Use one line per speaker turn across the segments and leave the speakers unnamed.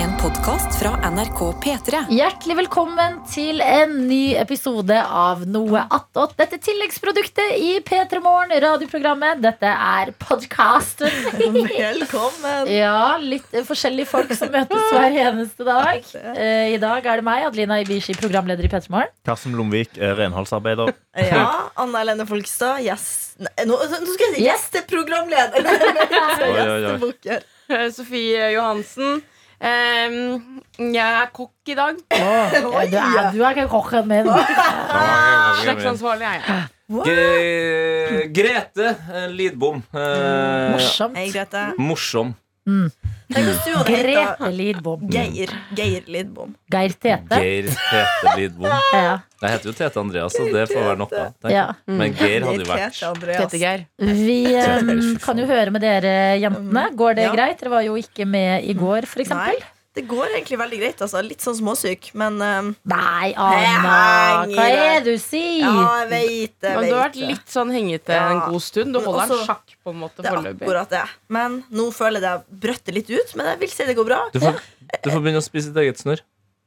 En podkast fra NRK P3.
Hjertelig velkommen til en ny episode av Noe attåt. Dette tilleggsproduktet i P3 Morgen, radioprogrammet. Dette er podkasten.
Velkommen!
Ja, litt eh, forskjellige folk som møtes hver eneste dag. Eh, I dag er det meg, Adelina Ibishi, programleder i P3 Morgen.
Karsten Lomvik er renholdsarbeider.
Ja, Anna Helene Folkestad. Yes. Nei, nå, nå skulle jeg si gjesteprogramleder!
Oi, oi, oi.
Gjestebukker.
Eh, Sofie Johansen. Ehm, jeg er kokk i dag.
Ja, du, er, du er ikke kokken min.
Slektsansvarlig er jeg.
Gre- Grete eh, Lidbom. Eh,
Hei,
Morsomt.
Grete.
morsom.
Tenk hvis du hadde heta
Grete Lidbom.
Geir. Geir Lidbom.
Geir Tete.
Geir Tete Lidbom.
Ja,
Jeg heter jo Tete Andreas, så det får være nok. da tenker
ja.
jeg. Men Geir hadde jo vært
Tete altså. Andreas.
Geir.
Vi eh, kan jo høre med dere jentene. Går det
Mm. Ja.
greit? Dere var jo ikke med i går, f.eks.
Nei, det går egentlig veldig greit. Altså. Litt sånn småsyk, men eh,
Nei,
Hei,
Anna,
Anna.
hva er det du sier?
Ja, jeg vet det.
Men du har
vet
vært
det.
litt sånn hengete
Ja.
en god stund. Du
Men
holder
også-
en sjakk på en måte
Det er
foreløpig.
akkurat det. Men nå føler jeg det brøtter litt ut. Men jeg vil si det går bra.
Du får, du får begynne å spise ditt eget snørr.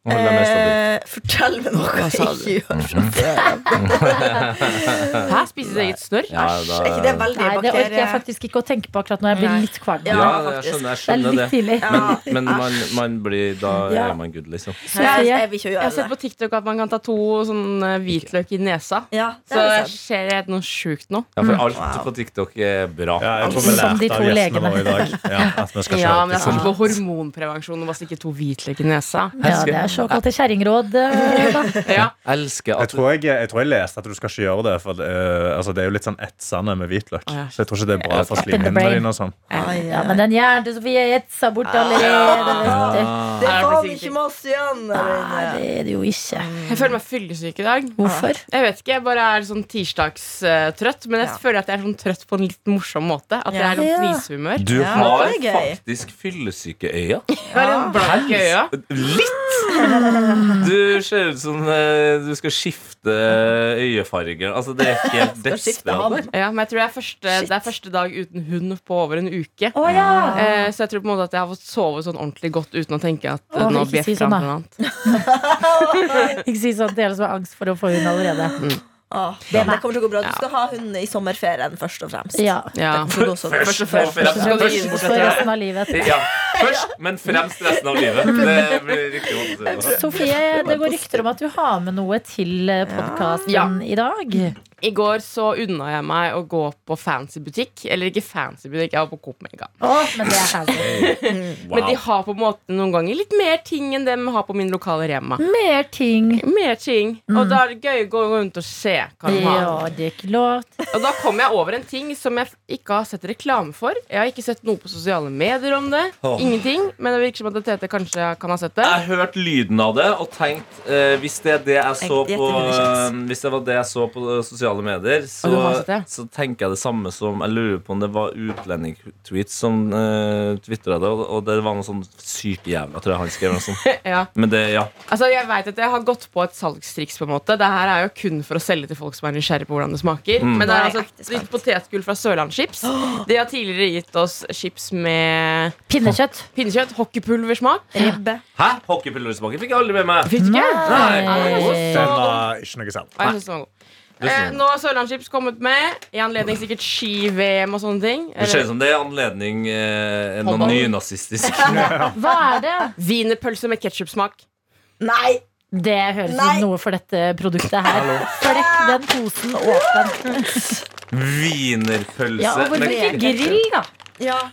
Og holde deg mer stabil.
Eh, fortell meg noe jeg ikke gjør. fra før.
Hæ? Spise ditt eget snørr?
Ja, da,
Er ikke det veldig
Nei, det orker jeg
bakterie?
faktisk ikke å tenke på akkurat når jeg blir
Nei.
litt kvalm.
ja,
Ja,
jeg
faktisk.
skjønner,
Det
jeg
er
skjønner
litt
det.
tidlig.
Ja.
Men man, man blir Da er man good, liksom.
Jeg,
Sofie,
jeg vil ikke
Jeg
gjøre
har sett
det.
på TikTok at man kan ta to sånn eh, hvitløk i nesa.
Ja, det
Så
har jeg sett.
skjer det noe sjukt nå.
Ja, for alt
Wow.
på TikTok er bra.
Ja, jeg tror vi
Som de
lærte
to
av gjestene
legene.
våre i dag. Ja, at vi skal
Ja,
kjøre
men jeg
til
skal ikke på hormonprevensjon og bare stikke to hvitløk i nesa.
ja, det er såkalte kjerringråd. eh, da.
Ja.
Jeg elsker
jeg
at
tror jeg, jeg tror jeg leste at du skal ikke gjøre det, for eh, altså, det er jo litt sånn etsende med hvitløk.
Å, ja.
Så jeg tror ikke det er bra for
Up in the
slimhinnene
brain.
dine. og sånn.
Ai,
Ja,
ai.
men den hjernen til Sofie etsa bort allerede. Vet du.
Det
Nei,
var
det blir
ikke
sikkert
masse igjen der
Nei,
inne.
det er det jo ikke.
Jeg føler meg fyllesyk i dag.
Hvorfor?
Jeg vet ikke, jeg bare er sånn tirsdagstrøtt. Men jeg
Ja.
føler at jeg er sånn trøtt på en litt morsom måte. At jeg
Ja.
er sånn litt
Ja.
grisehumør.
Du
Ja,
har
det er gøy.
faktisk fyllesyke øyne.
Jeg har en blank i øya.
Litt! Du ser ut som eh, du skal skifte øyefarge. Altså, det er helt desperat.
Ja, men jeg tror det er, første, det er første dag uten hund på over en uke.
Å ja!
Eh, så jeg tror på en måte at jeg har fått sove sånn ordentlig godt uten å tenke at eh,
Åh,
nå
ikke
bjeffer
si sånn, da.
han på noe annet.
Ikke si sånn til alle som har angst for å få hund
Mm.
allerede.
Åh,
Det er
Ah. det
meg.
kommer til å gå bra. Du skal ha hunden i sommerferien, først og fremst.
Ja.
Ja.
Det kommer til å gå så bra.
og fremst.
Skal du inn
For resten av livet.
Ja, først, men fremst resten av livet. Det blir riktig måte å si det på.
Sofie, det går rykter om at du har med noe til podkasten
Ja.
i dag.
I går så unna jeg meg å gå på fancy butikk. Eller ikke fancy butikk, jeg var på Coop Mega.
Å, men det er fancy.
Men de
Wow.
har på en måte noen ganger litt mer ting enn dem har på min lokale Rema.
Mer ting.
Mer ting. Og da er det gøy å gå rundt og se hva de har.
Mm. Ja, det er klart.
Og da kom jeg over en ting som jeg ikke har sett reklame for. Jeg har ikke sett noe på sosiale medier om det.
Åh.
Ingenting. Men det virker som at Tete kanskje kan ha sett det.
Jeg hørte lyden av det og tenkte eh, hvis det er det jeg så
Jeg
på
gjetter
eh,
det
Hvis det var det jeg så på sosiale medier, så,
Og du har sett det?
så tenker jeg det samme som Jeg lurer på om det var utlendingtweets som uh, tvitra det, og, og det var noe sånn sykt jævla, tror jeg han skrev. Noe sånt.
Ja.
Men det, ja.
Altså, jeg vet at jeg har gått på et salgstriks. på en måte Det her er jo kun for å selge til folk som er nysgjerrig på hvordan det smaker. Men det
Nå er jeg
er altså
ekte
et
spent.
nytt potetgull fra Sørlandschips. De har tidligere gitt oss chips med
Pinnekjøtt.
pinnekjøtt, hockeypulversmak.
Ribbe.
Hæ? Hockeypulversmaken fikk jeg aldri med meg.
Fikk du ikke?
Nei.
Nei, det var så
Den var eh, ikke noe særlig.
Ja, jeg synes det var god.
Det
Eh,
synes jeg.
nå har Sørlandschips kommet med. I anledning sikkert ski-VM og sånne ting.
Det ser ut som det er anledning eh, noe
Håndball.
nynazistisk.
Hva er det?
Wienerpølse med ketsjupsmak.
Nei!
Det høres ut
Nei.
som noe for dette produktet her. Flekk den posen åpen.
Wienerpølse.
Ja, og hvorfor
Men-
ikke grill, da?
Ja.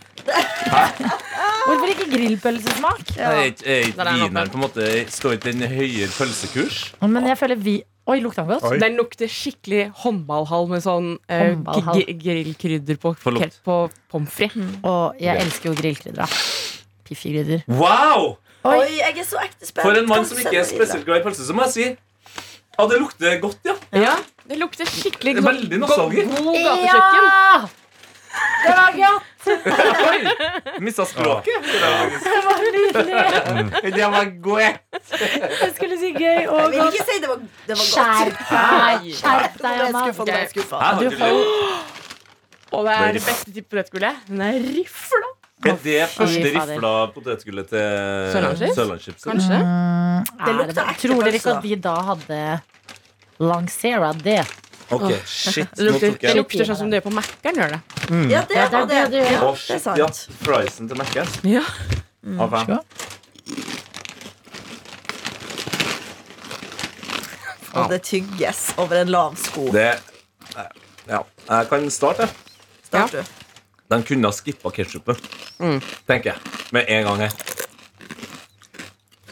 Hvorfor ikke grillpølsesmak?
Er ikke- er ikke
Der er den
wieneren
åpen.
på en måte Står ikke den i høyere pølsekurs?
Men jeg føler vi Oi, lukta den godt?
Oi.
Den lukter skikkelig håndballhall med sånn eh,
Håndballhall.
g- grillkrydder på,
For lukt.
på pommes frites.
Og jeg elsker jo grillkrydder. da. Piffikrydder.
Wow!
Oi.
Oi, jeg er så ekte spent.
For en mann
Kan
som
du
ikke
sende
er
videre?
spesielt glad i pølse, så må jeg si ja, det lukter godt, ja.
Ja, det lukter skikkelig
Det er veldig nostalgi.
God, god gatekjøkken.
Det var godt!
Oi! Mista språket.
Det var nydelig.
Det var godt.
Jeg skulle si gøy
Jeg
og
vil
godt.
ikke si det var, det var godt.
Skjerp deg! Skjerp deg,
Nå ble jeg
Anna.
skuffet, nå ble jeg skuffet.
Jeg har ikke lov.
Og det
Det er
er det beste type potetgullet. Den er rifla.
Er det første
Fy fader.
rifla potetgullet til
Sørlandschips?
Sørlandschips?
Kanskje?
Er
lukter
det-
ekte
Tror dere ikke
pølse,
at de da hadde lansera det?
Ok, shit.
Det
Nå
lukter,
tok
det
jeg
lukter sånn som det på Mac-en gjør det.
Ja, det
Ja, det er
var
det
det.
du-
Ja,
Å,
det er
shit, ja.
sant.
Friesen til Mac-en.
Ja.
Av fem.
Og det tygges over en lav sko.
Det Ja. Jeg kan starte. jeg.
Start du.
De kunne ha skippa ketsjupet,
Mm.
tenker jeg. Med en gang her.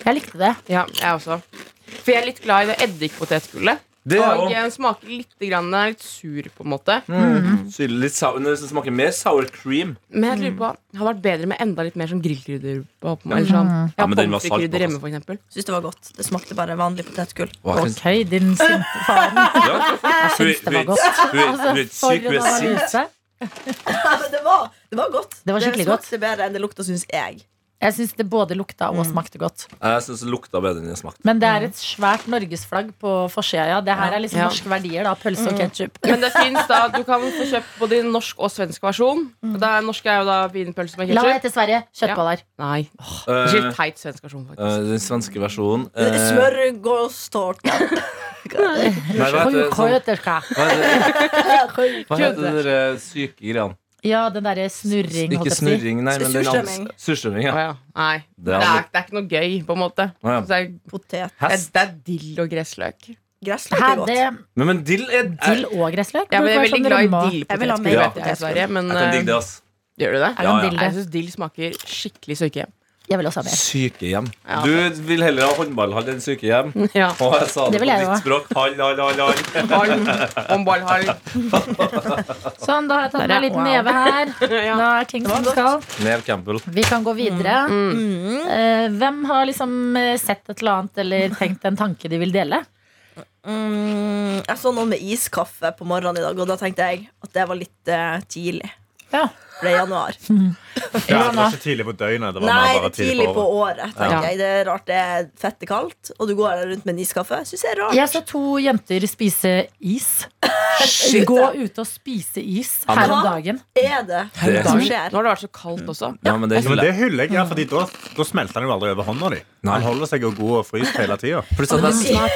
Jeg likte det.
Ja, jeg også. For jeg er litt glad i det eddikpotetgullet.
Det er
Og
jo Mm.
den smaker litt, grann, den er litt sur, på en måte.
Mm.
syrlig, litt sour, det smaker mer sour cream.
Men jeg lurer på, det hadde vært bedre med enda litt mer sånn grillkrydder. på- på- Eller sånn.
Ja,
Ja,
men den var
Pommes
salt på,
frites-krydder hjemme, for eksempel.
Syns det var godt. Det smakte bare vanlig potetgull.
Ok, din sinte faren.
Ja.
Jeg
Hun er
syns det var godt.
hun er- hun er
Altså, for
syk,
en
hun er sint.
analyse.
Ja, men det var, det var godt.
Det var skikkelig godt.
smakte bedre enn det lukta, syns jeg.
Jeg syns det både lukta og smakte godt.
Jeg syns det lukta bedre enn det smakte.
Men det er et svært norgesflagg på forsida. Ja. Det her er liksom
Ja.
norske verdier. da, Pølse og ketsjup.
Men det fins da, du kan få kjøpt både norsk og svensk versjon. Og da, norsk er jo da wienerpølse med
La meg
ketsjup.
til Sverige. Kjøttboller.
Nei.
Eh,
Ikke teit svensk versjon,
eh,
faktisk.
den svenske versjonen eh,
Smørgåstårte.
nei, hva heter det sånn-
Sjuksköterska.
hva heter- Hva heter det der, eh, syke greiene?
Ja, den derre snurring. holdt
Ikke
jeg på å si.
snurring, nei, men den
Surstrømming.
andre- surstrømming.
Å
Ja.
ja. Nei.
Eh. Det
Det
er
er,
aldri-
det er ikke noe gøy, på en måte.
Å ja.
Så det, er,
Potet.
det,
Hest.
er, det er dill og gressløk.
Gressløk
Hæ,
er godt.
det
Men, men dill er
Dill og gressløk?
Ja, men jeg
Burde
er
vært
veldig
sånn
glad
rømme
i
og-
dill.
Jeg vil ha
potetgull,
mer
vet jeg,
potetgull.
dessverre, Men
Jeg kan digge det,
eh,
ass.
gjør du det?
Er det
Ja,
en
ja.
dill,
Jeg
det?
syns dill smaker skikkelig søke.
Jeg vil også ha mer.
Sykehjem.
Ja.
Du vil heller ha håndballhall enn sykehjem.
Ja.
Og jeg sa det
Det
på
vil jeg
ditt
jo.
språk. Hall, hall, hall, hall.
Halm. Omball halm.
Sånn, da har jeg tatt meg en liten
Wow.
neve her.
Ja.
Da er Kingston
Det var
skal.
Nev Campbell.
Vi kan gå videre. Eh, hvem har liksom eh, sett et eller annet eller tenkt en tanke de vil dele?
Mm, jeg så noen med iskaffe på morgenen i dag, og da tenkte jeg at det var litt eh, tidlig.
Ja.
For det er januar.
Ja,
Johanna.
det var ikke tidlig på døgnet. Det var
Nei,
mer
det
bare
er tidlig på året. tenker
Ja.
jeg Det er rart det er fette kaldt, og du går rundt med en iskaffe. Syns jeg er rart.
Jeg så to jenter spise is. Gå ute og spise is her om dagen.
Er det
Det er sånn-
som
sant.
Nå
skjer?
har det vært så kaldt også.
Ja, men det
Ja, men
hyller
det
jeg.
hyller jeg, ja, fordi da, da smelter han jo aldri over hånda di.
Nei.
Han holder seg jo god og fryst hele tida.
Pluss at jeg,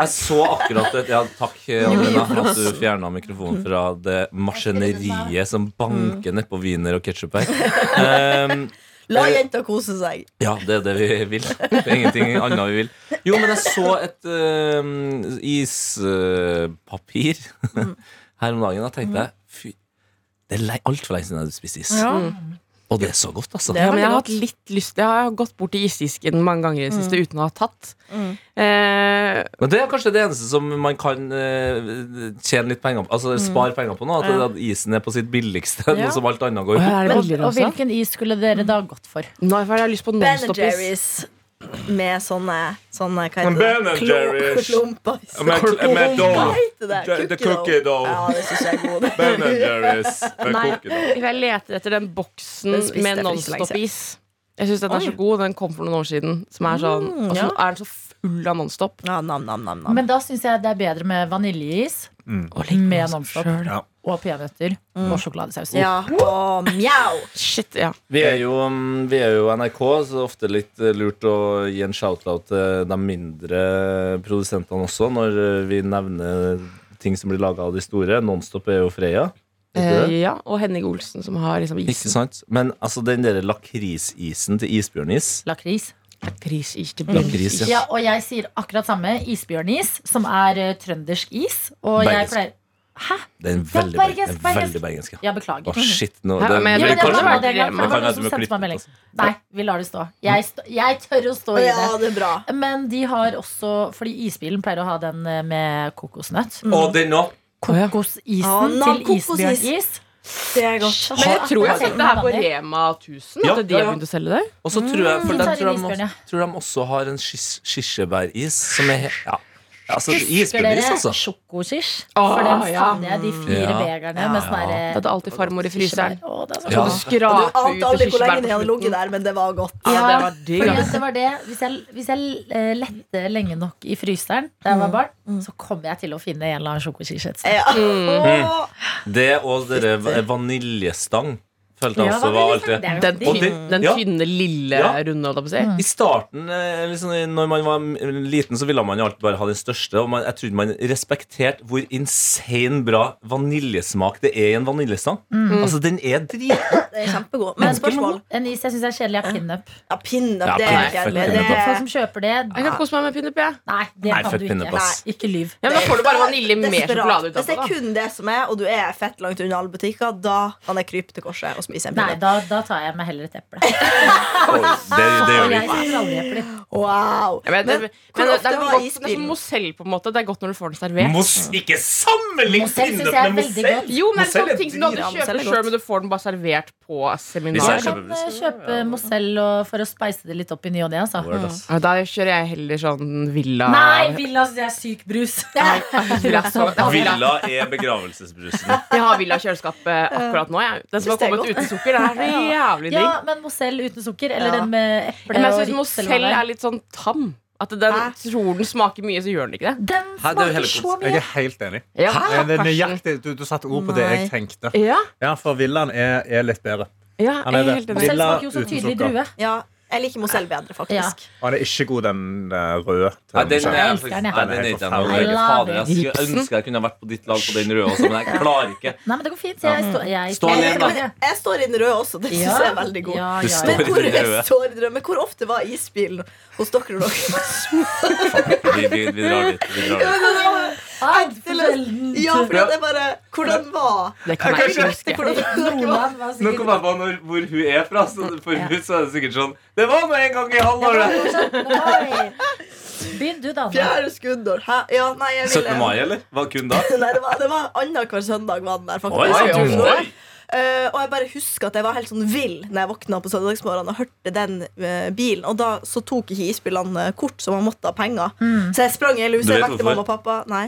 jeg så akkurat et Ja, takk, Adelina, at du fjerna mikrofonen fra det maskineriet som banker nedpå wiener og ketsjup her. Um,
La jenta kose seg.
Ja, det er det vi vil. Det er Ingenting annet vi vil. Jo, men jeg så et ehm, ispapir her om dagen. Da tenkte jeg fy, det er altfor lenge siden jeg har spist is. Og det er så godt, altså.
Ja, men jeg har hatt litt lyst Jeg har gått bort til isdisken mange ganger i det siste uten å ha tatt. Eh,
Men det er kanskje det eneste som man kan eh, tjene litt penger på. Altså spare penger på nå. At, at isen er på sitt billigste,
Mm. Ja.
noe som alt annet går opp.
er det
Men,
billigere
og
også?
hvilken is skulle dere da gått for?
Nå har jeg lyst på
Ben
Nonstop-is.
Jerry's med sånne, sånne Hva heter
Ben
det?
and Jerry's.
Klumper. Hva heter det?
The- the cookie dough.
Ja, det syns jeg er god.
Nei, jeg leter etter den boksen
Den spiste
med
jeg for ikke så lenge
Nonstop-is. Jeg syns den er
Oi.
så god. Den kom for noen år siden. Som er sånn,
Mm,
og så
ja.
er den så full av Nonstop.
Ja, nam, nam, nam, nam.
Men da syns jeg det er bedre med vaniljeis Med Nonstop.
Ja.
og peanøtter og sjokoladesaus.
Ja, og mjau.
Shit, ja.
Vi er, jo, mm, vi er jo NRK, så det er ofte litt eh, lurt å gi en shout-out til de mindre produsentene også, når eh, vi nevner ting som blir laga av de store. Nonstop er jo Freya.
Eh,
Vet du det?
ja. Og Henning Olsen, som har liksom
Ikke
isen.
sant? Men altså, den der lakrisisen til isbjørnis
Lakris.
Lakris, is til
Lakris,
blomst.
ja.
Ja, og jeg sier akkurat samme. Isbjørnis, som er eh, trøndersk is. Og jeg
Bergensk.
pleier
Den er
Ja,
veldig,
bergensk,
den er
bergensk.
veldig bergensk. ja.
Ja, beklager. Mm.
Å, shit. Nå,
Hæ, men
Ja, men
jeg tror
jeg
kanskje
var
man-
det en gang, for
man
det var
kan
noen
hende
som
vi må
sendte
klippe
meg melding.
ut,
Nei, vi lar det stå. Jeg, st jeg tør å stå i
Ja,
det.
det er bra.
Men de har også Fordi isbilen pleier å ha den eh, med kokosnøtt.
Og den òg!
ja.
Kokosisen
Ah, na-
til
kokosis.
isbjørnis.
Det er godt.
Men jeg tror jeg har sett det her på
Vanlig.
Rema 1000.
Ja,
At de har
ja, ja.
begynt å selge det.
Og så tror jeg, for
Mm,
den
tar
tror
en isbjørn,
de,
ja.
tror de også har en skis- kirsebæris som er he- Ja, altså
Husker
isbjørnis,
dere
altså.
sjokokish?
Ah,
For den
ja.
savner jeg, de fire
Ja.
vegerne med sånn
Det
herre
hadde alltid farmor i fryseren.
Å, det er så
Ja.
Og
godt.
du
Og du ante aldri
skraper ut
hvor lenge
kirsebær
den hadde
på
ligget
slutten.
der, men det var godt.
Mm.
Ja, det var digg,
fordi
ass.
at det var det. Hvis jeg, hvis jeg eh, lette lenge nok i fryseren da jeg var barn, så kommer jeg til å finne en
Mm.
eller annen sjokokish et sted.
Ja. Åh.
Det og dere va- vaniljestang følte jeg
Ja,
også
hva
var
blir
alltid
det?
Den,
Og det-
tynne- den
ja.
tynne, lille,
Ja. Mm.
runde, holdt jeg på å si.
I starten, eh, liksom, når man var m- liten, så ville man jo alltid bare ha den største. Og man, jeg trodde man respekterte hvor insane bra vaniljesmak det er i en vaniljestang.
Mm.
Altså, den er dritgod.
Det er kjempegod.
Men
Men spørsmål?
en is jeg syns er kjedelig, er pinup.
Ja, pinup,
Ja,
det er
pinup,
ikke
fuck
det-
pinup.
Folk
det-
som kjøper det
Jeg kan kose meg med pinup, jeg.
Nei, det
Nei,
kan
fett
du
pinup,
ikke.
ass.
Nei, ikke lyv.
Ja, men da får du bare vanilje med
Desperat. Hvis
sjokolade
det
utenpå.
er
da.
kun det som er, og du er fett langt unna alle butikker, da kan jeg krype til korset og spise en
Nei,
pinup.
da, da tar jeg meg heller et eple.
Oi, det, det gjør
Og
vi
jeg
ikke.
spiser aldri epler.
Wow.
Jeg vet,
Men hvor
men, men det,
ofte
er
var
godt, det er
isbilen?
som Mozell, på en måte. Det er godt når du får den servert.
Mos, ikke sammenlign
Mozell synes
pinup
jeg er
med
veldig godt.
Mozell!
Jo, men det er
Mozell er
sånne ting som du
dyr,
aldri
ja, Mozell
kjøper
er
sjøl,
godt.
men du får den bare servert på
Hvis
seminar.
jeg
Jeg
kjøper-
kan eh, kjøpe Mozell og- for å speise det litt opp i ny og ne. Altså.
Word, ass.
Ja, Da kjører jeg heller sånn villa
Nei, Villa det er syk brus.
Villa.
Rosa.
Villa er begravelsesbrusen.
Jeg har villa kjøleskap eh, akkurat nå. Jeg. Den som
Synes
har
det er
kommet uten sukker. Det er så jævlig digg.
Ja, men Mozell uten sukker, eller
Ja.
den med eple
Men jeg
og
syns
rips eller
Mozell
hva det
er litt sånn tam. At den
Hæ?
tror den smaker mye, så gjør den ikke det.
Den
Hæ, det er jo hele
smaker så
Jeg
mye.
er helt enig.
Ja,
Det er- det er
Karsten.
nøyaktig, du, du satte ord på det jeg tenkte.
Ja,
Ja, for villaen er, er litt bedre.
ja
Han
jeg
er
er
det.
helt enig.
Mozell
Villa
smaker jo så
uten
tydelig
sukker.
drue.
Ja, jeg liker Mozell bedre, faktisk.
Og han er ikke god, den eh, røde. til
Nei, den er
Michelle.
Jeg
faktisk-
elsker den,
Nei,
jeg.
den er ikke jeg noe
I
glad i.
love
Fader,
it.
jeg skulle jeg ønsker jeg kunne vært på ditt lag på den røde også, men jeg klarer ikke.
Nei, men det går fint. Jeg, står- jeg
Stå alene, da.
Ja, ja,
Jeg står i den røde også. Den synes jeg er veldig god.
Ja,
Du
ja,
står
ja.
Men
i
hvor,
den røde.
jeg står i den røde. Men hvor ofte var isbilen hos dere? når dere-
Vi, vi, vi drar dit. Vi drar dit.
Altfor sjelden.
Ja, for det er bare Hvordan var
Det kan jeg ikke huske.
hvordan dere var?
Nordland var
Nå
sikkert
kom jeg på når, hvor hun er fra. Så for hun så er det sikkert sånn Det var nå en gang i halvåret!
Begynn du, da. Anne.
Fjerde skuddår. Hæ? Ja, nei, jeg ville
17. mai, eller? Var kun da?
Nei, det var, det var annenhver søndag var den der,
Oi,
faktisk.
Oi,
oi,
oi,
oi.
Eh, og jeg bare husker at jeg var helt sånn vill Når jeg våkna på søndagsmorgenen og hørte den eh, bilen. Og da så tok ikke isbilene kort, så man måtte ha penger.
Mm.
Så jeg sprang i hele
Du
huset. Jeg
vet
vekte
hvorfor?
mamma og pappa. Nei.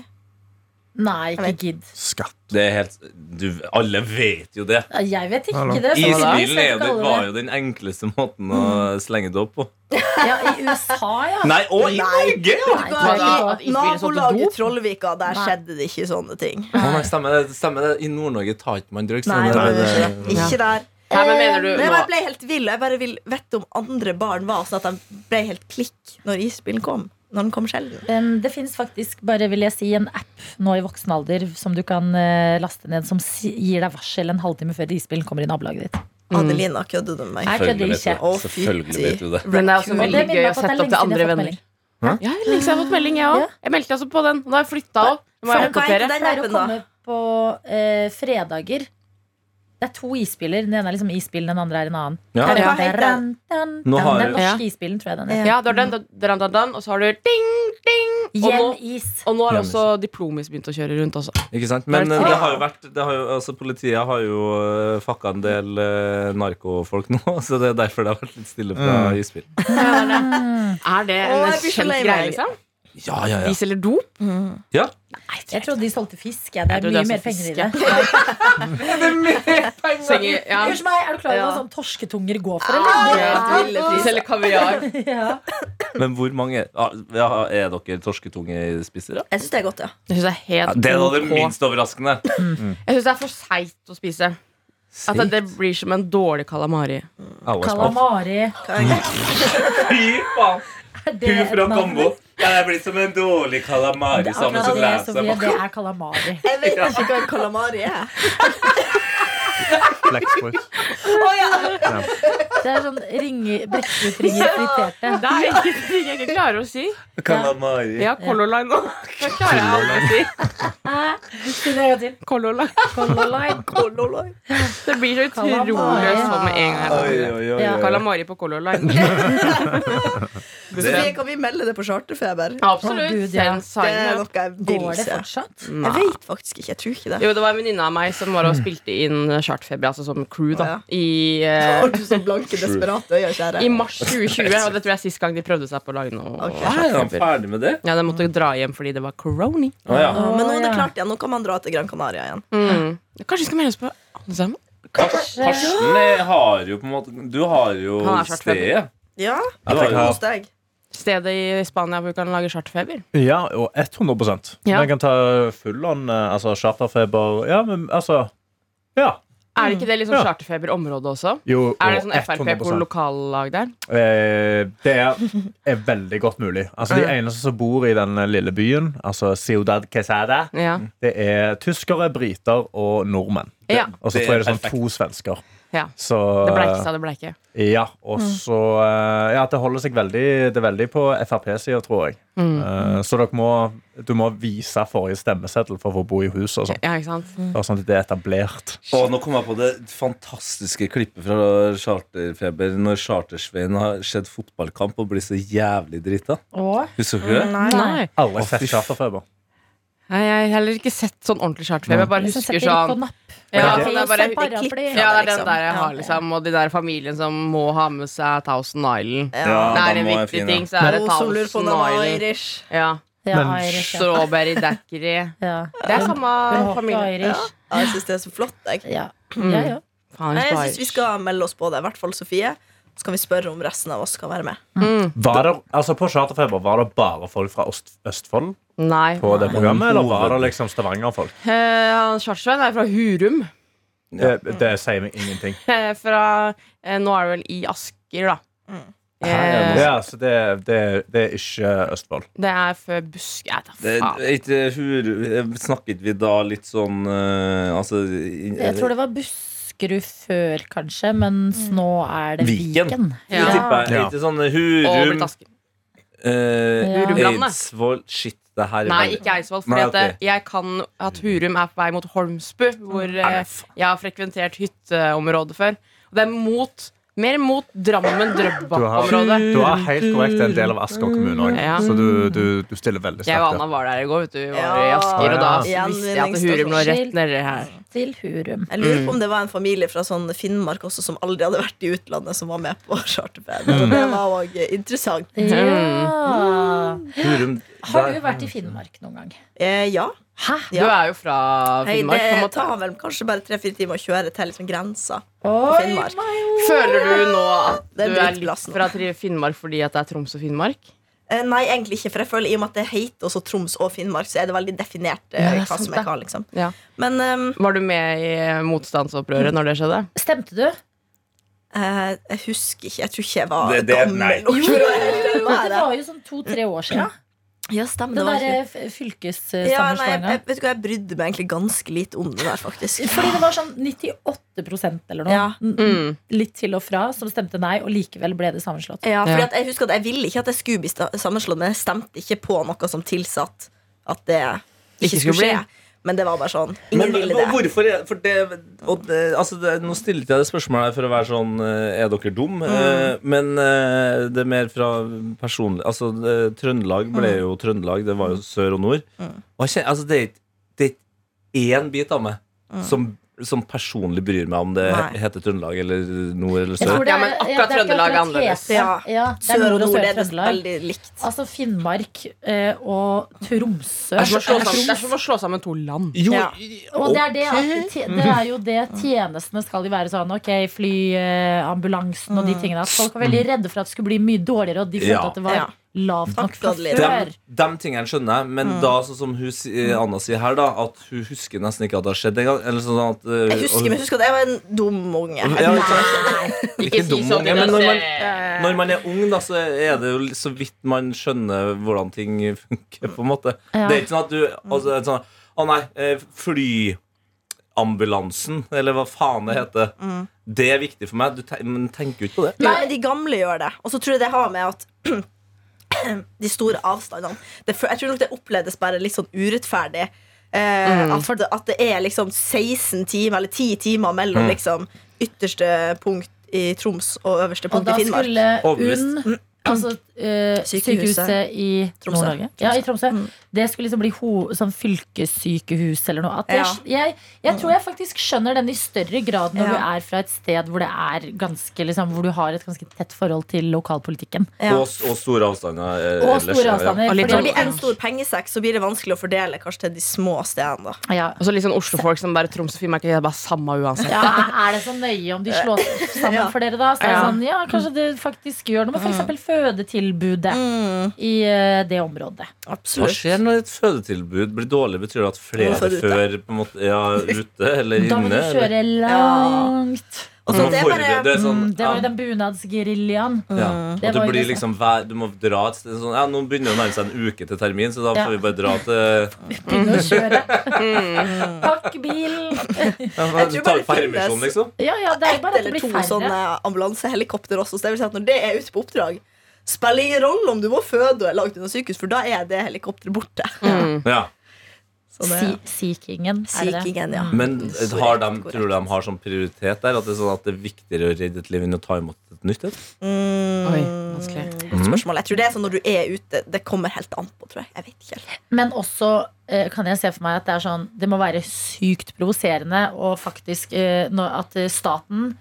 Nei, ikke gidd.
Skatt.
Det er helt du, Alle vet jo det.
Jeg vet ikke det. så-
Isbilen er jo
Skal
det,
alle
var
det?
jo den enkleste måten å slenge det opp på.
Ja, I USA, ja.
Nei, og i
Nei.
Norge! ja!
Nei,
Hva,
tror jeg
i
ikke at isbilen solgte
Nabolaget
dop?
Trollvika, der
Nei.
skjedde det ikke sånne ting.
Å, nei, stemmer det. stemmer det I Nord-Norge tar ikke man drugs.
Nei,
Det
nei,
Sånn er
det
bare-
Ikke der.
Nei, men mener du
Eh, Men jeg
nå
bare ble helt vill. og Jeg bare vil vite om andre barn var sånn at de ble helt klikk når isbilen kom. Når den kom sjelden.
Um, det fins faktisk bare vil jeg si, en app nå i voksen alder som du kan eh, laste ned, som si gir deg varsel en halvtime før isbilen kommer i nabolaget ditt.
Adelina, kødder du med meg?
Nei. Jeg kødder
Mm. Selvfølgelig
ikke.
vet du- Selvfølgelig vet du det.
Men det er også
Og det
veldig
minner
gøy
meg
å
på at det er
sette
lenge
opp
siden
til
jeg
andre
har fått
venner. Ja, det er lenge siden jeg har fått melding, jeg
Ja.
òg. Jeg meldte altså på den. og Da har jeg flytta òg. Nå må jeg
Men hva heter
oppdatere.
den
Jeg pleier å
appen, da?
komme på eh, fredager. Det er to isbiler. Den ene er liksom isbilen, den andre er en annen.
Ja.
Den,
Hva heter
den,
den?
den,
Nå har
den
jeg-
norske isbilen, tror jeg den
Ja.
er.
Ja, du har den, da- dan, dan, dan, og så har du ding, ding. Og nå,
Hjelmis.
og nå har også diplomis begynt å kjøre rundt også.
Ikke sant? Men
Det
eh,
er
det har jo vært det har jo, altså, Politiet har jo eh, fakka en del eh, narkofolk nå, så det er derfor det har vært litt stille fra
Mm.
isbil.
Er det
Å,
en
jeg blir så
kjent
lei
greie,
meg.
liksom?
Ja, ja,
De selger dop?
ja.
Nei,
Jeg trodde de solgte fisk. Jeg. Det
Jeg
er
tror
mye
det er
mer
sånn
penger i
fisk,
det.
Selger, ja.
Unnskyld meg, er du klar over
Ja.
hva sånn torsketunger går for, eller?
De selger kaviar.
Ja.
Men hvor mange ah, ja, Er dere torsketungespisere?
Jeg syns det er godt, ja.
Jeg syns det er
Ja, Altså,
helt
det er da det
ok.
minst overraskende.
Jeg syns det er for seigt å spise. At det, det blir som en dårlig kalamari.
Au, jeg smaker.
Kalamari.
Fy faen!
Er det
Hun
et
fra
navn?
Kambo. Jeg er blitt som en dårlig kalamari.
Det er
Samme
akkurat
som
det, Sofie.
leser.
Det er kalamari.
Jeg vet ikke hva en kalamari er.
Flexbrus.
Det er sånn ringer, brettfrutringer friterte.
Det er ikke ting jeg ikke klarer å si.
Kalamari.
Ja, Color Line nå. Det klarer jeg aldri å si.
Si det en gang til.
Color Line.
Kololai.
Lololoi.
Det blir så utrolig
Kalamari.
sånn med en gang.
Oi, oi, oi,
Ja.
oi.
Kalamari på Color Line.
Sofie, kan vi melde det på charterfeber?
Å, Gud,
Absolutt.
ja.
Send
Det
sign
er
up.
noe jeg vil
Går det
se.
fortsatt?
Jeg vet faktisk ikke. Jeg tror ikke det.
Jo, det var en venninne av meg som var og spilte inn Chartfeber, altså som crew, da, i, eh,
Har du så blanke, desperate øyne, kjære?
i mars 2020. Og det tror jeg er sist gang de prøvde seg på å lage noe
Ok.
Er han
Chartfeber.
ferdig med det?
Ja, de måtte dra hjem fordi det var corona.
Å ja.
Ja, Men nå er det
Å, ja.
klart igjen. Nå kan man dra til Gran Canaria igjen.
Mm. Kanskje vi skal melde oss på alle sammen?
Karsten eh, har jo på en måte Du har jo
Han er svart
stedet.
Ja,
Du har jo-
Kos deg.
Stedet i Spania hvor vi kan lage chartfeber.
Ja, og 100
Ja.
Man kan ta full on, eh, altså charterfeber Ja, men altså Ja.
Er det ikke det litt sånn
Ja.
charterfeberområde også?
Jo,
Er det
og
sånn Frp på
100%.
lokallag der?
Eh, det er, er veldig godt mulig. Altså, de eneste som bor i den lille byen, altså Ciudad Quesada,
Ja.
det er tyskere, briter og nordmenn.
Ja.
Og så
Det
tror jeg
er
det er sånn
perfekt.
to svensker.
ja.
Så,
Det bleike sa det bleike.
Ja, og
Mm.
så eh, Ja, det holder seg veldig Det er veldig på Frp-sida, tror jeg.
Mm.
Eh, Så dere må, du må vise forrige stemmeseddel for å få bo i huset og sånn.
Ja, ikke sant?
Bare Sånn at det er etablert.
Og nå kom jeg på det fantastiske klippet fra Charterfeber når Chartersveien har sett fotballkamp og blir så jævlig drita.
Åh.
Husker du
Mm.
det?
Nei.
Alle
Å,
har sett
fy f-
charterfeber.
Nei, Jeg har heller ikke sett sånn ordentlig charterfeber. Jeg bare
Jeg synes
husker
jeg tenker på
sånn
napp.
ja,
Ok.
sånn det er bare,
Ikke klipp fra
ja, det er den
liksom.
der jeg
Ja.
har, liksom. Og de der familien som må ha med seg Thousand Island.
Ja,
det
da
er en
må jeg
viktig
finne.
ting, så er det
Noen som lurer på om
Thousand
den var
Island.
Irish.
Ja.
Ja,
Men
Irish, ja.
Strawberry daiquiri.
Ja.
Det er samme
Hun var ikke
familie.
Irish.
Ja, jeg syns det er så flott. Jeg,
Ja. Ja, ja.
Faen,
Nei,
jeg
jeg
er
syns vi
Irish.
skal melde oss på det. I hvert fall Sofie. Så kan vi spørre om resten av oss kan være med.
Var det, altså på charterfeber var det bare folk fra Øst, Østfold
Nei.
på det programmet, eller var det
Hoved-
liksom Stavanger-folk?
Eh, han Chartersveien er fra Hurum.
Det, det sier meg ingenting.
Eh, fra eh, Nå er det vel i Asker, da.
Mm.
Her er
Eh,
Ja, så det, det, det er ikke Østfold.
det er før Busk... Jeg vet da
Det,
faen.
ikke, hur, snakket vi da litt sånn eh, Altså
Jeg tror det var Buskerud før, kanskje, mens nå er det
Viken.
Viken.
Vi tipper
Ja.
litt sånn
Og blitt
Hurum,
Asker.
eh,
Hurumlandet.
Eidsvoll Shit, det her er
Nei,
veldig-
ikke Eidsvoll.
Nei,
Fordi at eh,
ok. Mm.
jeg kan at Hurum er på vei mot Holmsbu, hvor eh, jeg har frekventert hytteområdet før. Og det er mot, mer mot
Du har,
Drammen-Drøbak-området.
du har helt korrekt en del av Asker kommune òg,
Ja.
så du, du, du stiller veldig
Jeg og
sterkt.
Anna
der.
var der i går, vet du. Vi var i
Ja.
Asker, og da
Ja.
visste jeg at Hurum lå rett nedi her.
Til Hurum.
Jeg lurer på om det var en familie fra sånn Finnmark også som aldri hadde vært i utlandet, som var med på charterferie. Og Det var òg interessant.
Ja.
Hurum,
Har
der-
du vært i Finnmark noen gang?
Eh, ja.
Hæ?
Du er jo fra
Hei,
Finnmark. på en
det
måte.
tar vel kanskje bare tre-fire timer å kjøre til liksom grensa.
Oi,
Finnmark.
my-
Føler du nå at
Det er
du er litt
drittplassen.
fra Tri- Finnmark fordi at det er Troms og Finnmark?
Eh, nei, egentlig ikke. For jeg føler i og med at det heter også Troms og Finnmark, så er det veldig definert eh,
Ja, det er
hva
sant,
som
det.
er hva. liksom
Ja.
Men ehm,
Var du med i eh, motstandsopprøret når det skjedde?
Stemte du?
eh, jeg husker ikke. Jeg tror ikke jeg var
Det- det-
gammel
nei.
nok for å
Det
være der.
var jo sånn to-tre år siden.
Ja,
Den
stemmer. Det var
derre
ikke- ja, nei, jeg,
fylkessammenslåinga.
jeg, vet du hva, jeg brydde meg egentlig ganske lite om det der, faktisk.
Fordi det var sånn 98 eller noe.
Ja.
Mm.
Litt til og fra som stemte nei, og likevel ble det sammenslått.
Ja,
Ja.
fordi at jeg husker at jeg ville ikke at jeg skulle bli sta- sammenslått, men jeg stemte ikke på noe som tilsatt at det ikke
Ikke
skulle
skulle
skje. Men det var bare sånn.
Men
Ingen ville
hvor-
det.
hvorfor er- for det, og det, altså det, Nå stilte jeg det spørsmålet her for å være sånn eh, Er dere dum?
Mm.
Eh, Men eh, det er mer fra personlig Altså, det, Trøndelag
Mm.
ble jo Trøndelag. Det var jo sør og nord. Og jeg kjenner, altså, det er ikke- det er ikke én bit av meg som, som personlig bryr meg om det
Mm. Nei.
heter Trøndelag eller nord eller
Jeg
sør.
tror det
Ja, men
er-
akkurat
ja, det er ikke
Trøndelag er
akkurat
annerledes.
hete.
Ja.
Ja, det er
Sør og nord
Sør
er det
Trøndelag.
veldig likt.
Altså Finnmark eh, og Tromsø
Det er som å slå
Troms.
sammen, det er som å slå sammen to land.
Jo,
Ja.
i-
Og det er, det, at
ok.
tje- det er jo det tjenestene skal jo være sånn. Ok, fly, eh, ambulansen
Mm.
og de tingene. At folk var veldig redde for at det skulle bli mye dårligere, og de følte
Ja.
at det var
Ja.
lavt nok
Takk,
fra
Adeline.
før.
Dem, dem tingene skjønner jeg,
Mm.
men da sånn som hun, si- eh, Anna sier her, da at hun husker nesten ikke at det har skjedd engang. Eller sånn at, eh,
Jeg
og-
husker, men jeg husker at jeg var en dum unge. Jeg
Ja,
tenkte,
ikke sant?
Ikke si
dum
sånn Eh,
unge, men
til
når
deg
man,
selv.
når man er ung, da, så er det jo så vidt man skjønner hvordan ting funker, på en måte.
Ja.
Det er ikke sånn at du altså, det er sånn, Å nei, eh, flyambulansen, eller hva faen det heter.
Mm.
Det er viktig for meg. Du ten- men tenker jo ikke på det.
Nei, men de gamle gjør det. Og så tror jeg det har med at de store avstandene det, fø- Jeg tror nok det opplevdes bare litt sånn urettferdig. Eh, at, at det er liksom 16 timer eller 10 timer mellom liksom ytterste punkt i Troms og øverste
Og
punkt
da
i Finnmark.
skulle
Overbevist.
UNN Altså eh, sykehuset,
Sykehuset
i
Tromsø.
Nord-Norge. Ja, i Tromsø. Det skulle liksom bli ho sånn fylkessykehus eller noe. At jeg, jeg, jeg tror jeg faktisk skjønner den i større grad når du
Ja.
er fra et sted hvor det er ganske liksom, Hvor du har et ganske tett forhold til lokalpolitikken.
Ja.
Og, og store avstander. eh,
Og
ellers,
store
ja.
avstander.
Og litt
fordi-
Når det blir sånn en stor pengesekk, så blir det vanskelig å fordele kanskje til de små stedene. da.
ja.
Og så litt sånn Oslo-folk som bare Troms og Finnmark det er bare samme uansett.
Ja, er det så nøye om de slås sammen for dere, da? Så er det
Ja.
sånn, ja, kanskje det faktisk gjør noe med f.eks. fødetilbudet i eh, det området.
Hva
Absolutt.
skjer når et fødetilbud blir dårlig? Betyr det at flere
Må få det ute.
før på en måte, ja, ute eller
Da må du
inne? eller?
kjøre langt.
Og så
Du må
det er
forberede-
bare
det er sånn,
Mm, det var
ja.
jo den bunadsgeriljaen.
Ja.
Det
Og
var
det
jo
blir
det
liksom hver, Du må dra et sted sånn, ja, Nå begynner det å nærme seg en uke til termin, så da
Ja.
får vi bare dra til
Begynne å kjøre.
Mm.
Pakk bilen.
ja, men
tror
Du tar
bare
jo permisjon,
finnes-
liksom.
Ja, ja, det er jo
ett
bare at det
eller to
blir færre.
sånne ambulansehelikopter også. Så det vil si at når det er ute på oppdrag, spiller ingen rolle om du må føde og er langt unna sykehus, for da er det helikopteret borte.
Ja.
Så det,
Si- Seekingen. er det det?
Seekingen, ja.
Men eh,
Så
har
rett,
de,
korrekt.
tror du de har sånn prioritet der? At det er sånn at det er viktigere å redde et liv enn å ta imot et nytt et?
Mm.
Oi,
Mm.
vanskelig.
Mm.
Godt spørsmål. Jeg tror det er sånn når du er ute. Det kommer helt an på, tror jeg. Jeg vet ikke helt.
Men også eh, kan jeg se for meg at det er sånn Det må være sykt provoserende og faktisk eh, når, at eh, staten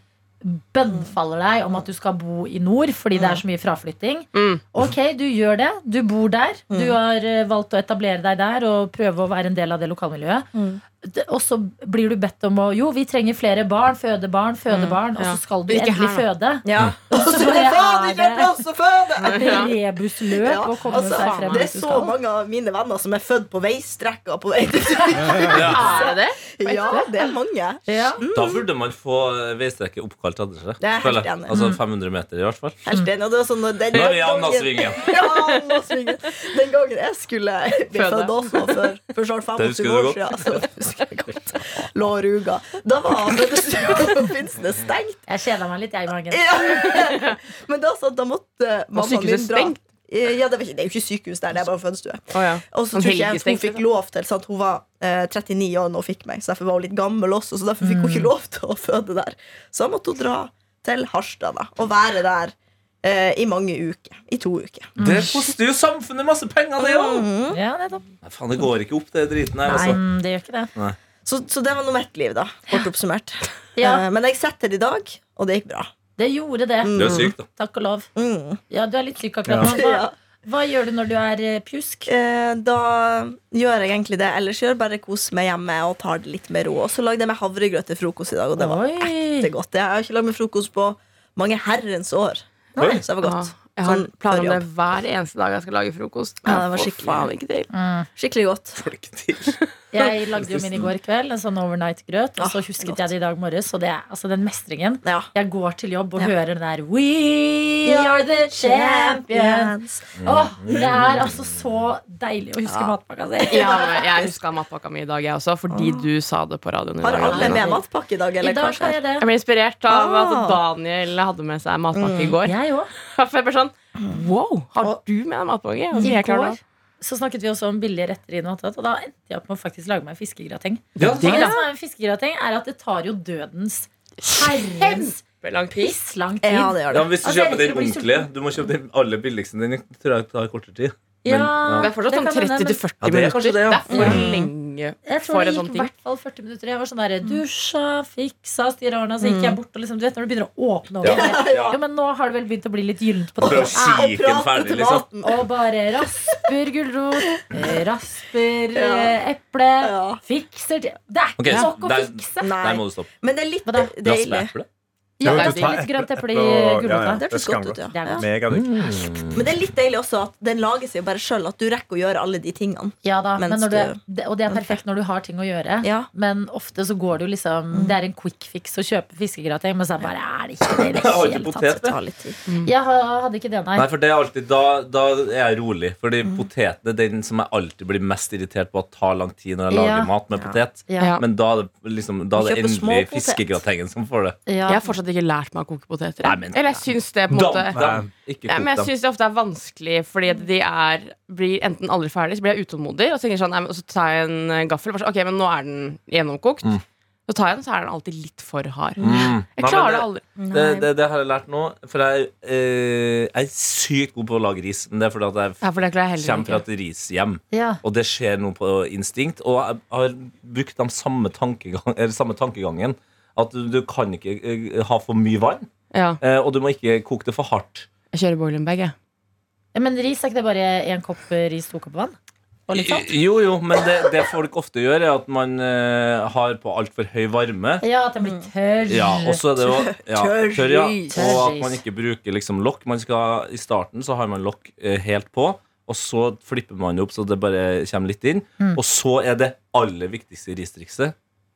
bønnfaller deg om at du skal bo i nord fordi det er så mye fraflytting.
Mm.
Ok, du gjør det. Du bor der. Du
Mm.
har eh, valgt å etablere deg der og prøve å være en del av det lokalmiljøet.
Mm.
Det- Og så blir du bedt om å Jo, vi trenger flere barn. Føde barn,
Mm.
føde barn. Og
ja.
så skal du
Ikke
endelig
her,
føde.
Ja. Og
bare
så er Altså, det faen
er
ikke
det-
plass å føde!
Et rebusløp
Ja,
å komme
altså,
seg frem.
det er
dit du
så
skal.
mange av mine venner som er født på veistrekka på vei til
Er det det?
Ja, det er mange.
Ja.
Da burde man få eh, veistrekket oppkalt etter seg.
Det er jeg
føler
helt enig.
Altså 500 meter, i hvert fall.
Helt enig. Og det var sånn, den,
Mm. Nå er vi i
gangen-
Andasvingen.
Ja, Andasvingen. Den gangen jeg skulle bli
Føde.
født også, for, for snart
Det
25
husker du
år
godt.
siden, så husker jeg godt. Lå og ruga. Da var fødestua på Finnsnes stengt.
Jeg kjeda meg litt, jeg, Margen.
Ja. Men da, så, da måtte mammaen min
sykehuset
dra.
stengt?
Eh, Ja, det, var ikke, det er jo ikke sykehus der, det er bare fødestue.
Å ja.
Og så
Sånn
tror ikke jeg at hun
helgestengt,
fikk
eller?
lov til sant? Hun var eh, 39 år da hun fikk meg, så derfor var hun litt gammel også. Så derfor fikk hun
Mm.
ikke lov til å føde der. Så da måtte hun dra til Harstad da, og være der eh, i mange uker. I to uker.
Det koster jo samfunnet masse penger, det òg!
Eh.
Ja, nettopp.
Nei, faen, det går ikke opp, det driten her,
Mm. Nei,
altså.
det gjør ikke det.
Så, så det var nå mitt liv, da. Kort oppsummert.
Ja.
Eh, men jeg setter det i dag, og det gikk bra.
Det gjorde det.
Det er jo sykt, da.
Takk og lov.
Mm.
Ja, du er litt syk akkurat nå.
Ja.
Hva, hva gjør du når du er eh, pjusk?
Eh, da gjør jeg egentlig det. Ellers gjør jeg bare kos meg hjemme og tar det litt med ro. Og så lagde jeg meg havregrøt til frokost i dag, og det var
Oi.
ektegodt. Jeg har ikke lagd meg frokost på mange herrens år.
Oi.
Så det var
Ja,
godt.
jeg har
Sånn
planer
før
om det
jobb.
hver eneste dag jeg skal lage frokost.
Ja, det var
Jeg får
skikkelig. Mm.
faen ikke til.
Skikkelig godt.
Jeg lagde jo min i går kveld, en sånn overnight-grøt. Og så husket
godt.
jeg det i dag morges, og det er altså den mestringen.
Ja.
Jeg går til jobb og hører den der We are the champions. Åh, det er altså så deilig å huske matpakka si.
Ja, men jeg huska matpakka mi i dag, jeg også, fordi du sa det på radioen. i
Har
dag,
alle
Adelina.
med matpakke i dag?
I
Eller
dag
kanskje?
har jeg det.
Jeg ble inspirert av at
Ah.
Daniel hadde med seg
Mm.
matpakke i går.
Jeg òg.
For jeg ble sånn Wow, har du med deg matpakke? Og så
I
jeg klarer
går
det.
så snakket vi også om billige retter i noe annet, og da endte jeg opp med å faktisk lage meg en fiskegrateng.
Ja,
Og det
da.
som er en fiskegrateng, er at det tar jo dødens herrens
Lang pris.
pisslang tid.
Ja, det gjør
Ja,
det.
men Hvis du
Altså, jeg
kjøper
elsker
den
å bli
ordentlige Du må kjøpe den aller billigste. Den tror jeg tar kortere tid.
Ja,
Men, ja.
Det er fortsatt
kan
sånn
hende,
30
men
til 40
Ja, det er kanskje det,
minutter.
ja.
Det er for
Mm.
lenge
Jeg tror
for
det
en sånn
gikk i
ting.
hvert fall 40 minutter. Jeg var sånn der, dusja, fiksa, stirra årene, så gikk jeg bort og liksom, Du vet når du begynner å åpne over
Ja.
det.
Ja.
Jo, men nå har det vel begynt å bli litt gyllent på
Prøv å
toppen.
kikke den
prate
ferdig,
til
liksom.
maten.
Og bare rasper gulrot, rasper eh, eple,
Ja.
fikser til Det er ikke
Ok, så
nok å
der-
fikse!
Der
Nei.
må du stoppe.
Men det er litt
Hva da?
deilig.
Raspeeple?
Ja,
Jo,
det er
du tar
litt grønt
eple-
eple i
eple og- ja, ja.
gulrota.
Det hørtes
Det
godt
skal
ut, ja.
Det er godt.
Megadigg.
Mm.
Men det er litt deilig også at den lager seg jo bare sjøl, at du rekker å gjøre alle de tingene.
Ja da,
Mens
men når du,
du-
det- og det er perfekt når du har ting å gjøre.
Ja.
Men ofte så går det jo liksom Det er en quick fix å kjøpe fiskegrateng, men så er det bare er det ikke det i det
Jeg har ikke
hele
potet,
tatt.
Ta litt tid.
Jeg ha- hadde ikke det, nei.
Nei, for det er alltid, da, da er jeg rolig. Fordi poteten er den som jeg alltid blir mest irritert på at tar lang tid når jeg lager
Ja.
mat med potet.
Ja.
Men da er det, liksom, da er det
Kjøpe små
endelig
potet.
fiskegratengen som får det.
Ja.
Jeg har fortsatt ikke lært meg å koke poteter.
Nei, men-
Eller jeg syns det på en
Damp
måte
dem! Ikke
ja,
kok
men
dem.
jeg syns det ofte er vanskelig, fordi at de er, blir enten aldri ferdig, så blir jeg utålmodig, og så, tenker jeg sånn, nei, men- og så tar jeg en eh, gaffel og bare sånn, Ok, men nå er den gjennomkokt. Så tar jeg den, så er den alltid litt for hard.
Mm.
Jeg
Nei, men
klarer det aldri.
Det, det, det har jeg lært nå. For jeg, eh, jeg er sykt god på å lage ris. Men det er fordi at jeg
Ja, for det klarer jeg
kommer fra
heller ikke.
et rishjem.
Ja.
Og det skjer noe på instinkt. Og jeg har brukt de samme, tankegang, eller samme tankegangen. At du, du kan ikke eh, ha for mye vann,
Ja,
eh, og du må ikke koke det for hardt.
jeg kjører boiling bag, jeg.
Men ris, er ikke det bare én kopp eh, ris, to kopper vann? og litt sånt?
Jo, jo, men det, det folk ofte gjør, er at man eh, har på altfor høy varme.
Ja, at den blir tørr.
Ja, og så er det jo ja,
Tørris.
tørr, ja. Og at
Tørris.
man ikke bruker liksom lokk. Man skal, I starten så har man lokk eh, helt på, og så flipper man opp så det bare kommer litt inn. Og så er det aller viktigste ristrikset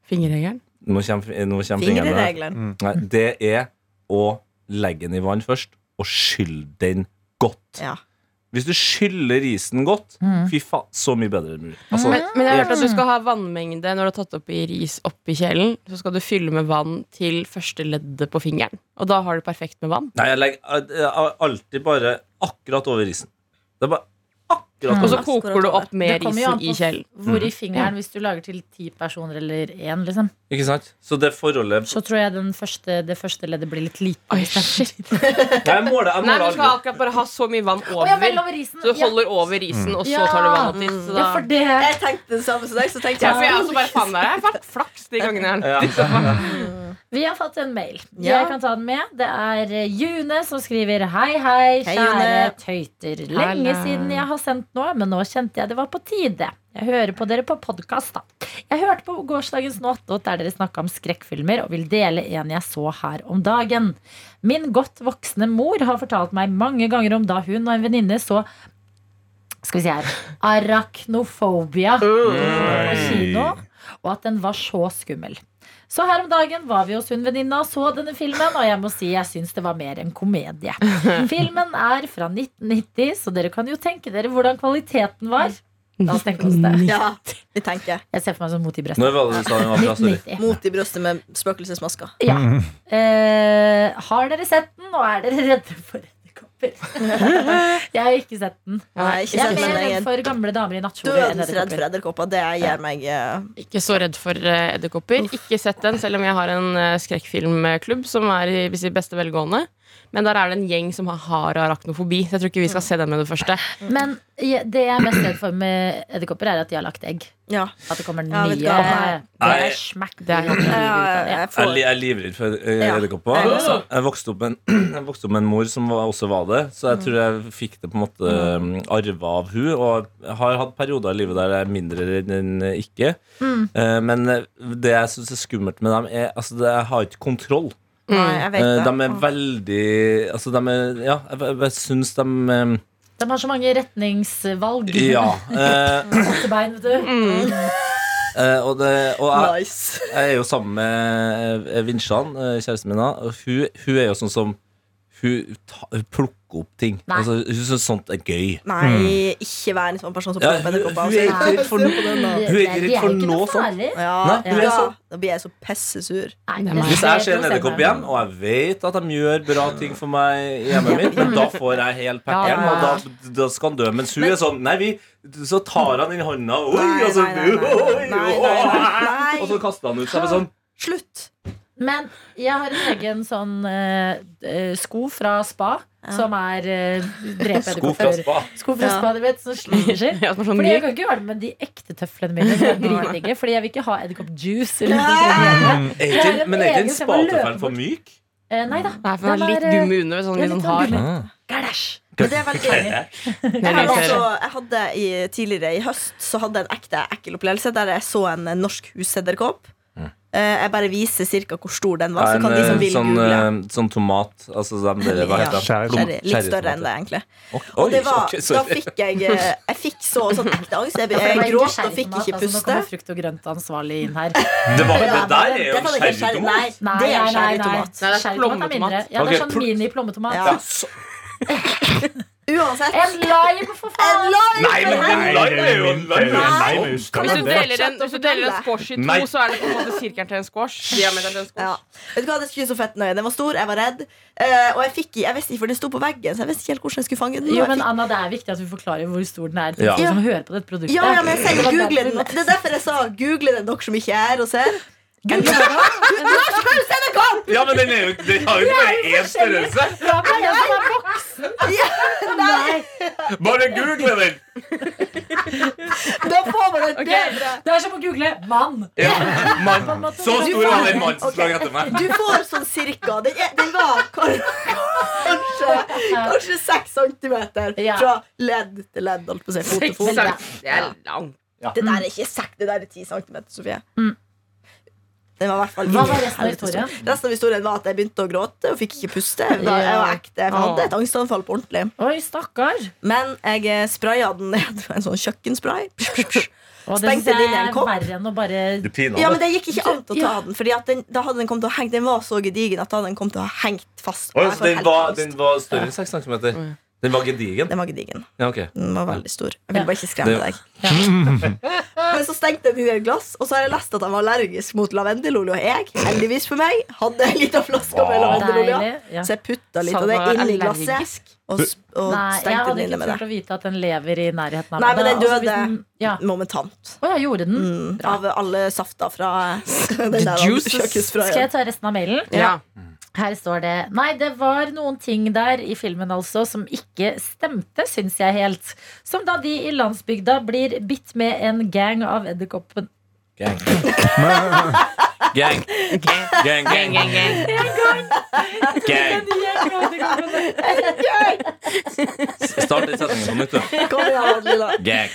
Fingerregelen.
Nå kommer, nå kommer fingrene. her.
Fingerregelen.
Nei, det er å legge den i vann først, og skylle den godt.
Ja.
Hvis du skyller risen godt,
Mm.
fy faen, så mye bedre det mulig. Altså,
Men, men jeg har
helt-
hørt at du skal ha vannmengde når du har tatt oppi ris oppi kjelen. Så skal du fylle med vann til første leddet på fingeren. Og da har du perfekt med vann.
Nei, jeg legger jeg har alltid bare akkurat over risen. Det er bare akkurat
Mm.
Og
over
så
risen.
koker du opp
Det
med
kommer jo an på
risen i kjelen.
hvor i fingeren hvis du lager til ti personer eller én. Liksom.
Ikke sant? Så det forholdet
Så tror jeg den første, det første leddet blir litt lite.
Oi,
hvis det er-
shit.
Nei, jeg måler, jeg
Nei,
måler
du skal
aldri.
akkurat bare ha så mye vann
Å, ja, vel,
over.
over risen.
Så du
Ja.
holder over risen, og så
Ja.
tar du vannet ditt. Så da...
Ja, for det
Jeg tenkte det samme som deg, så tenkte
Ja, for jeg
jeg
er også bare faen der. Jeg har vært flaks de gangene her.
Vi har fått en mail.
Ja.
Jeg kan ta den med. Det er eh, June som skriver Hei, hei,
Hei,
kjære
June.
tøyter. Lenge
Hallo.
siden jeg har sendt noe, men nå kjente jeg det var på tide. Jeg hører på dere på podkast, da. Jeg hørte på gårsdagens Nåttot der dere snakka om skrekkfilmer, og vil dele en jeg så her om dagen. Min godt voksne mor har fortalt meg mange ganger om da hun og en venninne så skal vi si her arachnofobia på
Mm.
kino, og at den var så skummel. Så her om dagen var vi hos hun venninna og så denne filmen, og jeg må si jeg syns det var mer en komedie. Filmen er fra 1990, så dere kan jo tenke dere hvordan kvaliteten var. La oss tenke oss det.
Mm.
Ja, vi tenker
Jeg ser for meg som mot i brøstet.
Når var det du sa den var fra? Sorry.
1990.
Mot i brystet med spøkelsesmasker.
Ja. Eh, har dere sett den, og er dere redde for edderkopper? jeg har ikke sett den.
Nei, ikke
Jeg er
sett,
mer
men jeg
redd
er
for gamle damer i nattkjole enn
dødens redd for
edderkopper.
edderkopper. Det gjør meg eh,
Ikke så redd for eh, edderkopper. Ikke sett den, selv om jeg har en eh, skrekkfilmklubb som er i sitt beste velgående. Men der er det en gjeng som har- har arachnofobi, så jeg tror ikke vi skal se den med det første.
Men jeg- det jeg er mest redd for med edderkopper, er at de har lagt egg.
Ja.
At det kommer
Ja,
nye
vet du hva?
Det
Nei.
er smekk.
Det er-
liv ut av det.
Jeg, jeg
Jeg
får
li- jeg er livredd for eh,
Ja.
edderkopper.
Jeg også.
Jeg vokste opp med en, jeg vokste opp med en mor som var, også var det, så jeg tror jeg fikk det på en måte
Mm.
um, arva av hun Og jeg har hatt perioder i livet der jeg er mindre redd enn ikke.
Mm.
Eh, Men eh, det jeg syns er skummelt med dem, er altså, det- jeg har ikke kontroll.
Nei, jeg vet
Eh,
det.
De er veldig Altså, de er Ja, jeg, jeg- jeg syns de eh,
De har så mange retningsvalg.
Ja. eh,
Til bein, vet du.
eh, og det, og jeg,
Nice.
Jeg er jo sammen med eh, Vinsjan, eh, kjæresten min. da, og Hun, hun er jo sånn som Hun, ta, hun plukker opp ting.
Nei.
Altså, hun syns sånt er gøy.
Nei, ikke vær en sånn person som
Mm. Ja,
plukker opp edderkopper.
hun, hun er
altså.
ikke redd for noe.
De,
Hun er ikke redd
de er
for
jo ikke
noe
noe
sånt.
farlig.
Ja,
Nei, hun er
da,
så-
da blir jeg så pessesur.
Nei,
Nei.
men-
Hvis jeg ser en
Det er
edderkopp igjen, og jeg vet at de gjør bra ting for meg i hjemmet mitt, men da får jeg helt packeren,
Ja, ja.
og da, da skal han dø. Mens hun er sånn Nei, vi Så tar han den i hånda, oi,
Nei,
og så
nei, nei, nei.
oi,
Nei, nei, nei, nei.
Og så kaster han ut seg med sånn
Slutt!
Men jeg har en egen sånn eh, eh, sko fra spa som er uh, drepe
Sko fra
edderkopper.
spa.
Sko fra
Ja.
spa, du vet, som slinger.
Ja, som er sånn
Fordi jeg
myk.
kan ikke gjøre det med de ekte tøflene mine. som er dritdigge, Fordi jeg vil ikke ha edderkoppjuice. eller noe sånt.
Er ikke- Men er ikke en
Jeg må løpe
spatefell for myk?
Eh, Nei da.
Nei, for den er litt
eh,
gummi under. Sånn,
ja,
litt sånn
litt
hard.
gummi.
Ah.
Gæsj!
Men det er veldig Jeg hadde,
Nei,
også,
nei,
jeg hadde i, Tidligere i høst så hadde jeg en ekte ekkel opplevelse der jeg så en eh, norsk husedderkopp. Eh, Jeg bare viser cirka hvor stor den var. Så
Mm. En,
kan de som
eh,
vil
sånn,
google
eh, sånn tomat Altså dem dere hva heter
Ja.
de? Plom-
Cherry. Litt større enn det, egentlig.
Oi,
Og det var,
ok,
da
sorry.
fikk jeg eh, Jeg fikk så sånn ekte angst. Jeg,
For det var
jeg
ikke
gråt og
sherrytomat,
fikk ikke
Altså, nå
puste.
kommer frukt og grønt ansvarlig inn her.
Det var det der er
Det var
jo
ikke sherry-
sherrytomat.
Nei, det er sherrytomat.
Nei, det er
Sherrytomat er mindre.
plommetomat.
Ja, det
Ok,
er sånn
pl-
mini-plommetomat.
Ja.
Ja, så-
Uansett.
En lime, for
En
faen!
lime!
Nei, men en
Nei,
lime er jo en
det er jo en
lime.
lime, husker
Hvis
du
du
det?
deler en, hvis du deler en squash i to,
Nei.
så er det på en måte sirkelen til en squash. Diameteren til en squash.
Ja. Vet du hva, Det skulle ikke så fett nøye. Den var stor, jeg var redd. Eh, og jeg fikk i, jeg visste ikke, for den sto på veggen, så jeg visste ikke helt hvordan jeg skulle fange
Jo,
den. Og jeg
men
fikk,
Anna, det er viktig at vi forklarer hvor stor den er til
Ja.
folk som hører på dette produktet.
ja, ja, men jeg sier
Det var
google
derfor-
den. Det er derfor jeg sa google den, dere som ikke er og ser. En norsk husedderkopp!
Ja, men den, er jo, den har jo ikke bare én størrelse.
Ja, men jeg som er voksen.
Ja, nei.
Bare google den!
Da får man et
Ok.
bedre
Det er som å google 'mann'.
Ja, mann.
På en måte.
Så stor var den mannen som sprang etter meg.
Du får sånn cirka. Den, er, den var kan- kanskje Kanskje 6 centimeter
Ja.
fra ledd til ledd. Holdt på å si, fot til fot.
centimeter.
Det er langt.
Det der er ikke sekk, det der er 10 cm, Sofie.
Mm.
Det var i hvert fall
Hva var resten av
Helvete stor.
historien?
Resten av historien var at jeg begynte å gråte og fikk ikke puste. Jeg var, jeg var ekte, jeg hadde et angstanfall på ordentlig.
Oi, stakkar.
Men jeg eh, spraya den ned med en sånn kjøkkenspray.
Og det
Stengte
synes jeg
den i en
er
kopp.
verre enn å bare
Du pina
Ja, men
meg.
det gikk ikke an å ta
Ja.
den, Fordi at den, da hadde den kommet til å henge Den var så gedigen at da hadde den kommet til å ha hengt fast.
Oi,
Jeg
så
får
den
helt
var,
angst.
den var større enn 6 cm.
Mm.
Den var gedigen.
den var gedigen.
Ja, ok
Den var veldig stor. Jeg ville
Ja.
bare ikke skremme
Det-
deg. Men så stengte jeg den i et glass, og så har jeg lest at han var allergisk mot lavendelolje. Og jeg, heldigvis for meg, hadde en liten flaske med lavendelolje.
Deilig. Ja.
Så jeg putta litt
Så
av det
han var
inn i
allergisk?
glasset og, s- og
Nei, jeg
stengte
hadde
den
ikke
inne med
turt
det.
å vite at den lever i nærheten av
Nei, men den
Altså, hvis
døde.
ja.
Momentant.
Å, jeg gjorde den.
Mm, av alle safta fra den der
juices.
Skal
kjøkkensprayen.
jeg ta resten av mailen?
Ja.
Her står det Nei, det var noen ting der i filmen altså som ikke stemte, syns jeg helt. Som da de i landsbygda blir bitt med en gang av edderkoppen.
Gang. Gang. Gang, gang,
Gang, gang, gang.
gang.
Hei,
Start den setningen på nytt. du.
Kom igjen, Adelina.
Gang.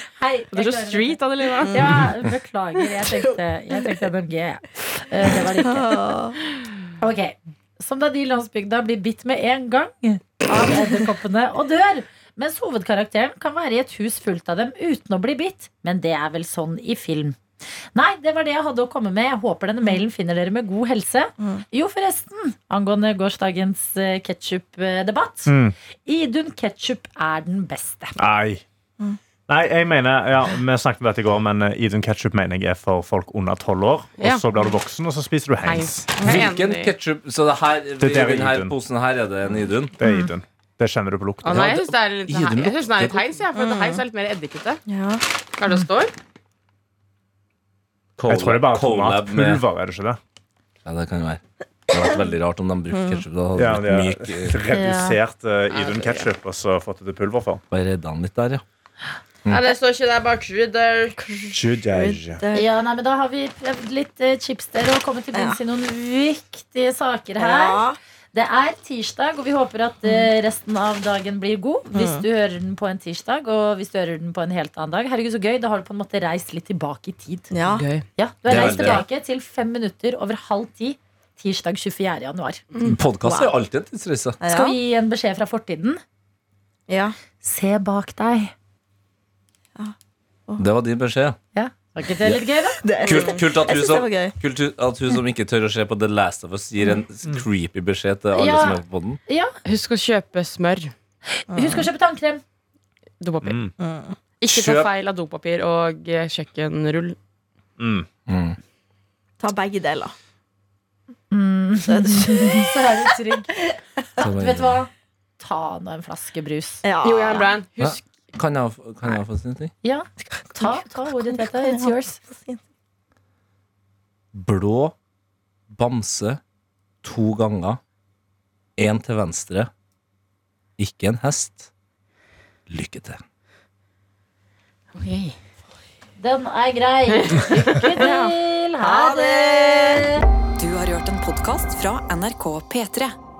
Du er så street, Adelina.
Ja, beklager. Jeg tenkte, jeg tenkte NMG. jeg. Eh, Det var det ikke. Ok, Som da de i landsbygda blir bitt med en gang av edderkoppene og dør. Mens hovedkarakteren kan være i et hus fullt av dem uten å bli bitt. Men det er vel sånn i film. Nei, det var det jeg hadde å komme med. Jeg håper denne mailen finner dere med god helse. Jo, forresten, angående gårsdagens eh, ketsjup-debatt.
Mm.
Idun ketsjup er den beste.
Nei. Nei, jeg mener, ja, Vi snakket om dette i går, men eh, Idun ketchup mener jeg er for folk under tolv år. Og
Ja.
så blir du voksen, og så spiser du hangs.
Hvilken ketchup Så det her,
Det der er
i denne
Idun.
posen her er det en Idun?
Det er Idun. Det kjenner du på
Å
lukten.
nei, jeg syns det er litt,
Gi
jeg
den
synes det er litt
lukter.
heis. Ja, for mm. heis er litt mer eddikete.
Ja.
Er det det står?
Jeg tror det er bare
Collab med
tomatpulver, er det ikke det?
Ja, det kan jo være. Det hadde vært veldig rart om de
Mm.
brukte ketsjup. Da
Ja,
hadde
de
det
har
vært myk
redusert eh, Idun ketchup og så fått det til pulver for.
Bare redde han litt der, ja.
Nei, det står ikke der bak krydder.
Ja, nei, men Da har vi prøvd litt eh, chips dere og kommet til bunns i noen viktige saker her.
Ja.
Det er tirsdag, og vi håper at eh, resten av dagen blir god. Hvis du hører den på en tirsdag, og hvis du hører den på en helt annen dag. Herregud, så gøy. Da har du på en måte reist litt tilbake i tid.
ja.
Gøy.
Ja, Du har
Det er
reist
det.
tilbake til fem minutter over halv ti tirsdag 24. januar.
Mm.
Podkast er alltid en tidsreise.
Skal vi gi en beskjed fra fortiden?
Ja.
Se bak deg.
Det var din beskjed.
Ja, Var ikke det litt gøy, da?
Det er-
Kult, kult, at
Jeg
hun
syns det
som,
var gøy.
kult at hun som ikke tør å se på The Last of Us, gir en
Mm.
creepy beskjed til alle
Ja.
som er på den.
Ja,
Husk å kjøpe smør.
Husk å kjøpe tannkrem.
Dopapir.
Mm.
Ikke ta
Kjøp-
feil av dopapir og eh, kjøkkenrull.
Mm.
Ta begge deler.
Så er du trygg. Vet du hva? Ta nå en flaske brus.
Ja.
Jo, Jan Brian,
Hæ?
husk
Kan jeg, få- kan jeg få si en ting?
Ja, ta, ta ordet, Tete. It's yours.
Blå bamse to ganger. Én til venstre. Ikke en hest. Lykke til.
Den er grei. Lykke til. Ha det.
Du har hørt en podkast fra NRK P3.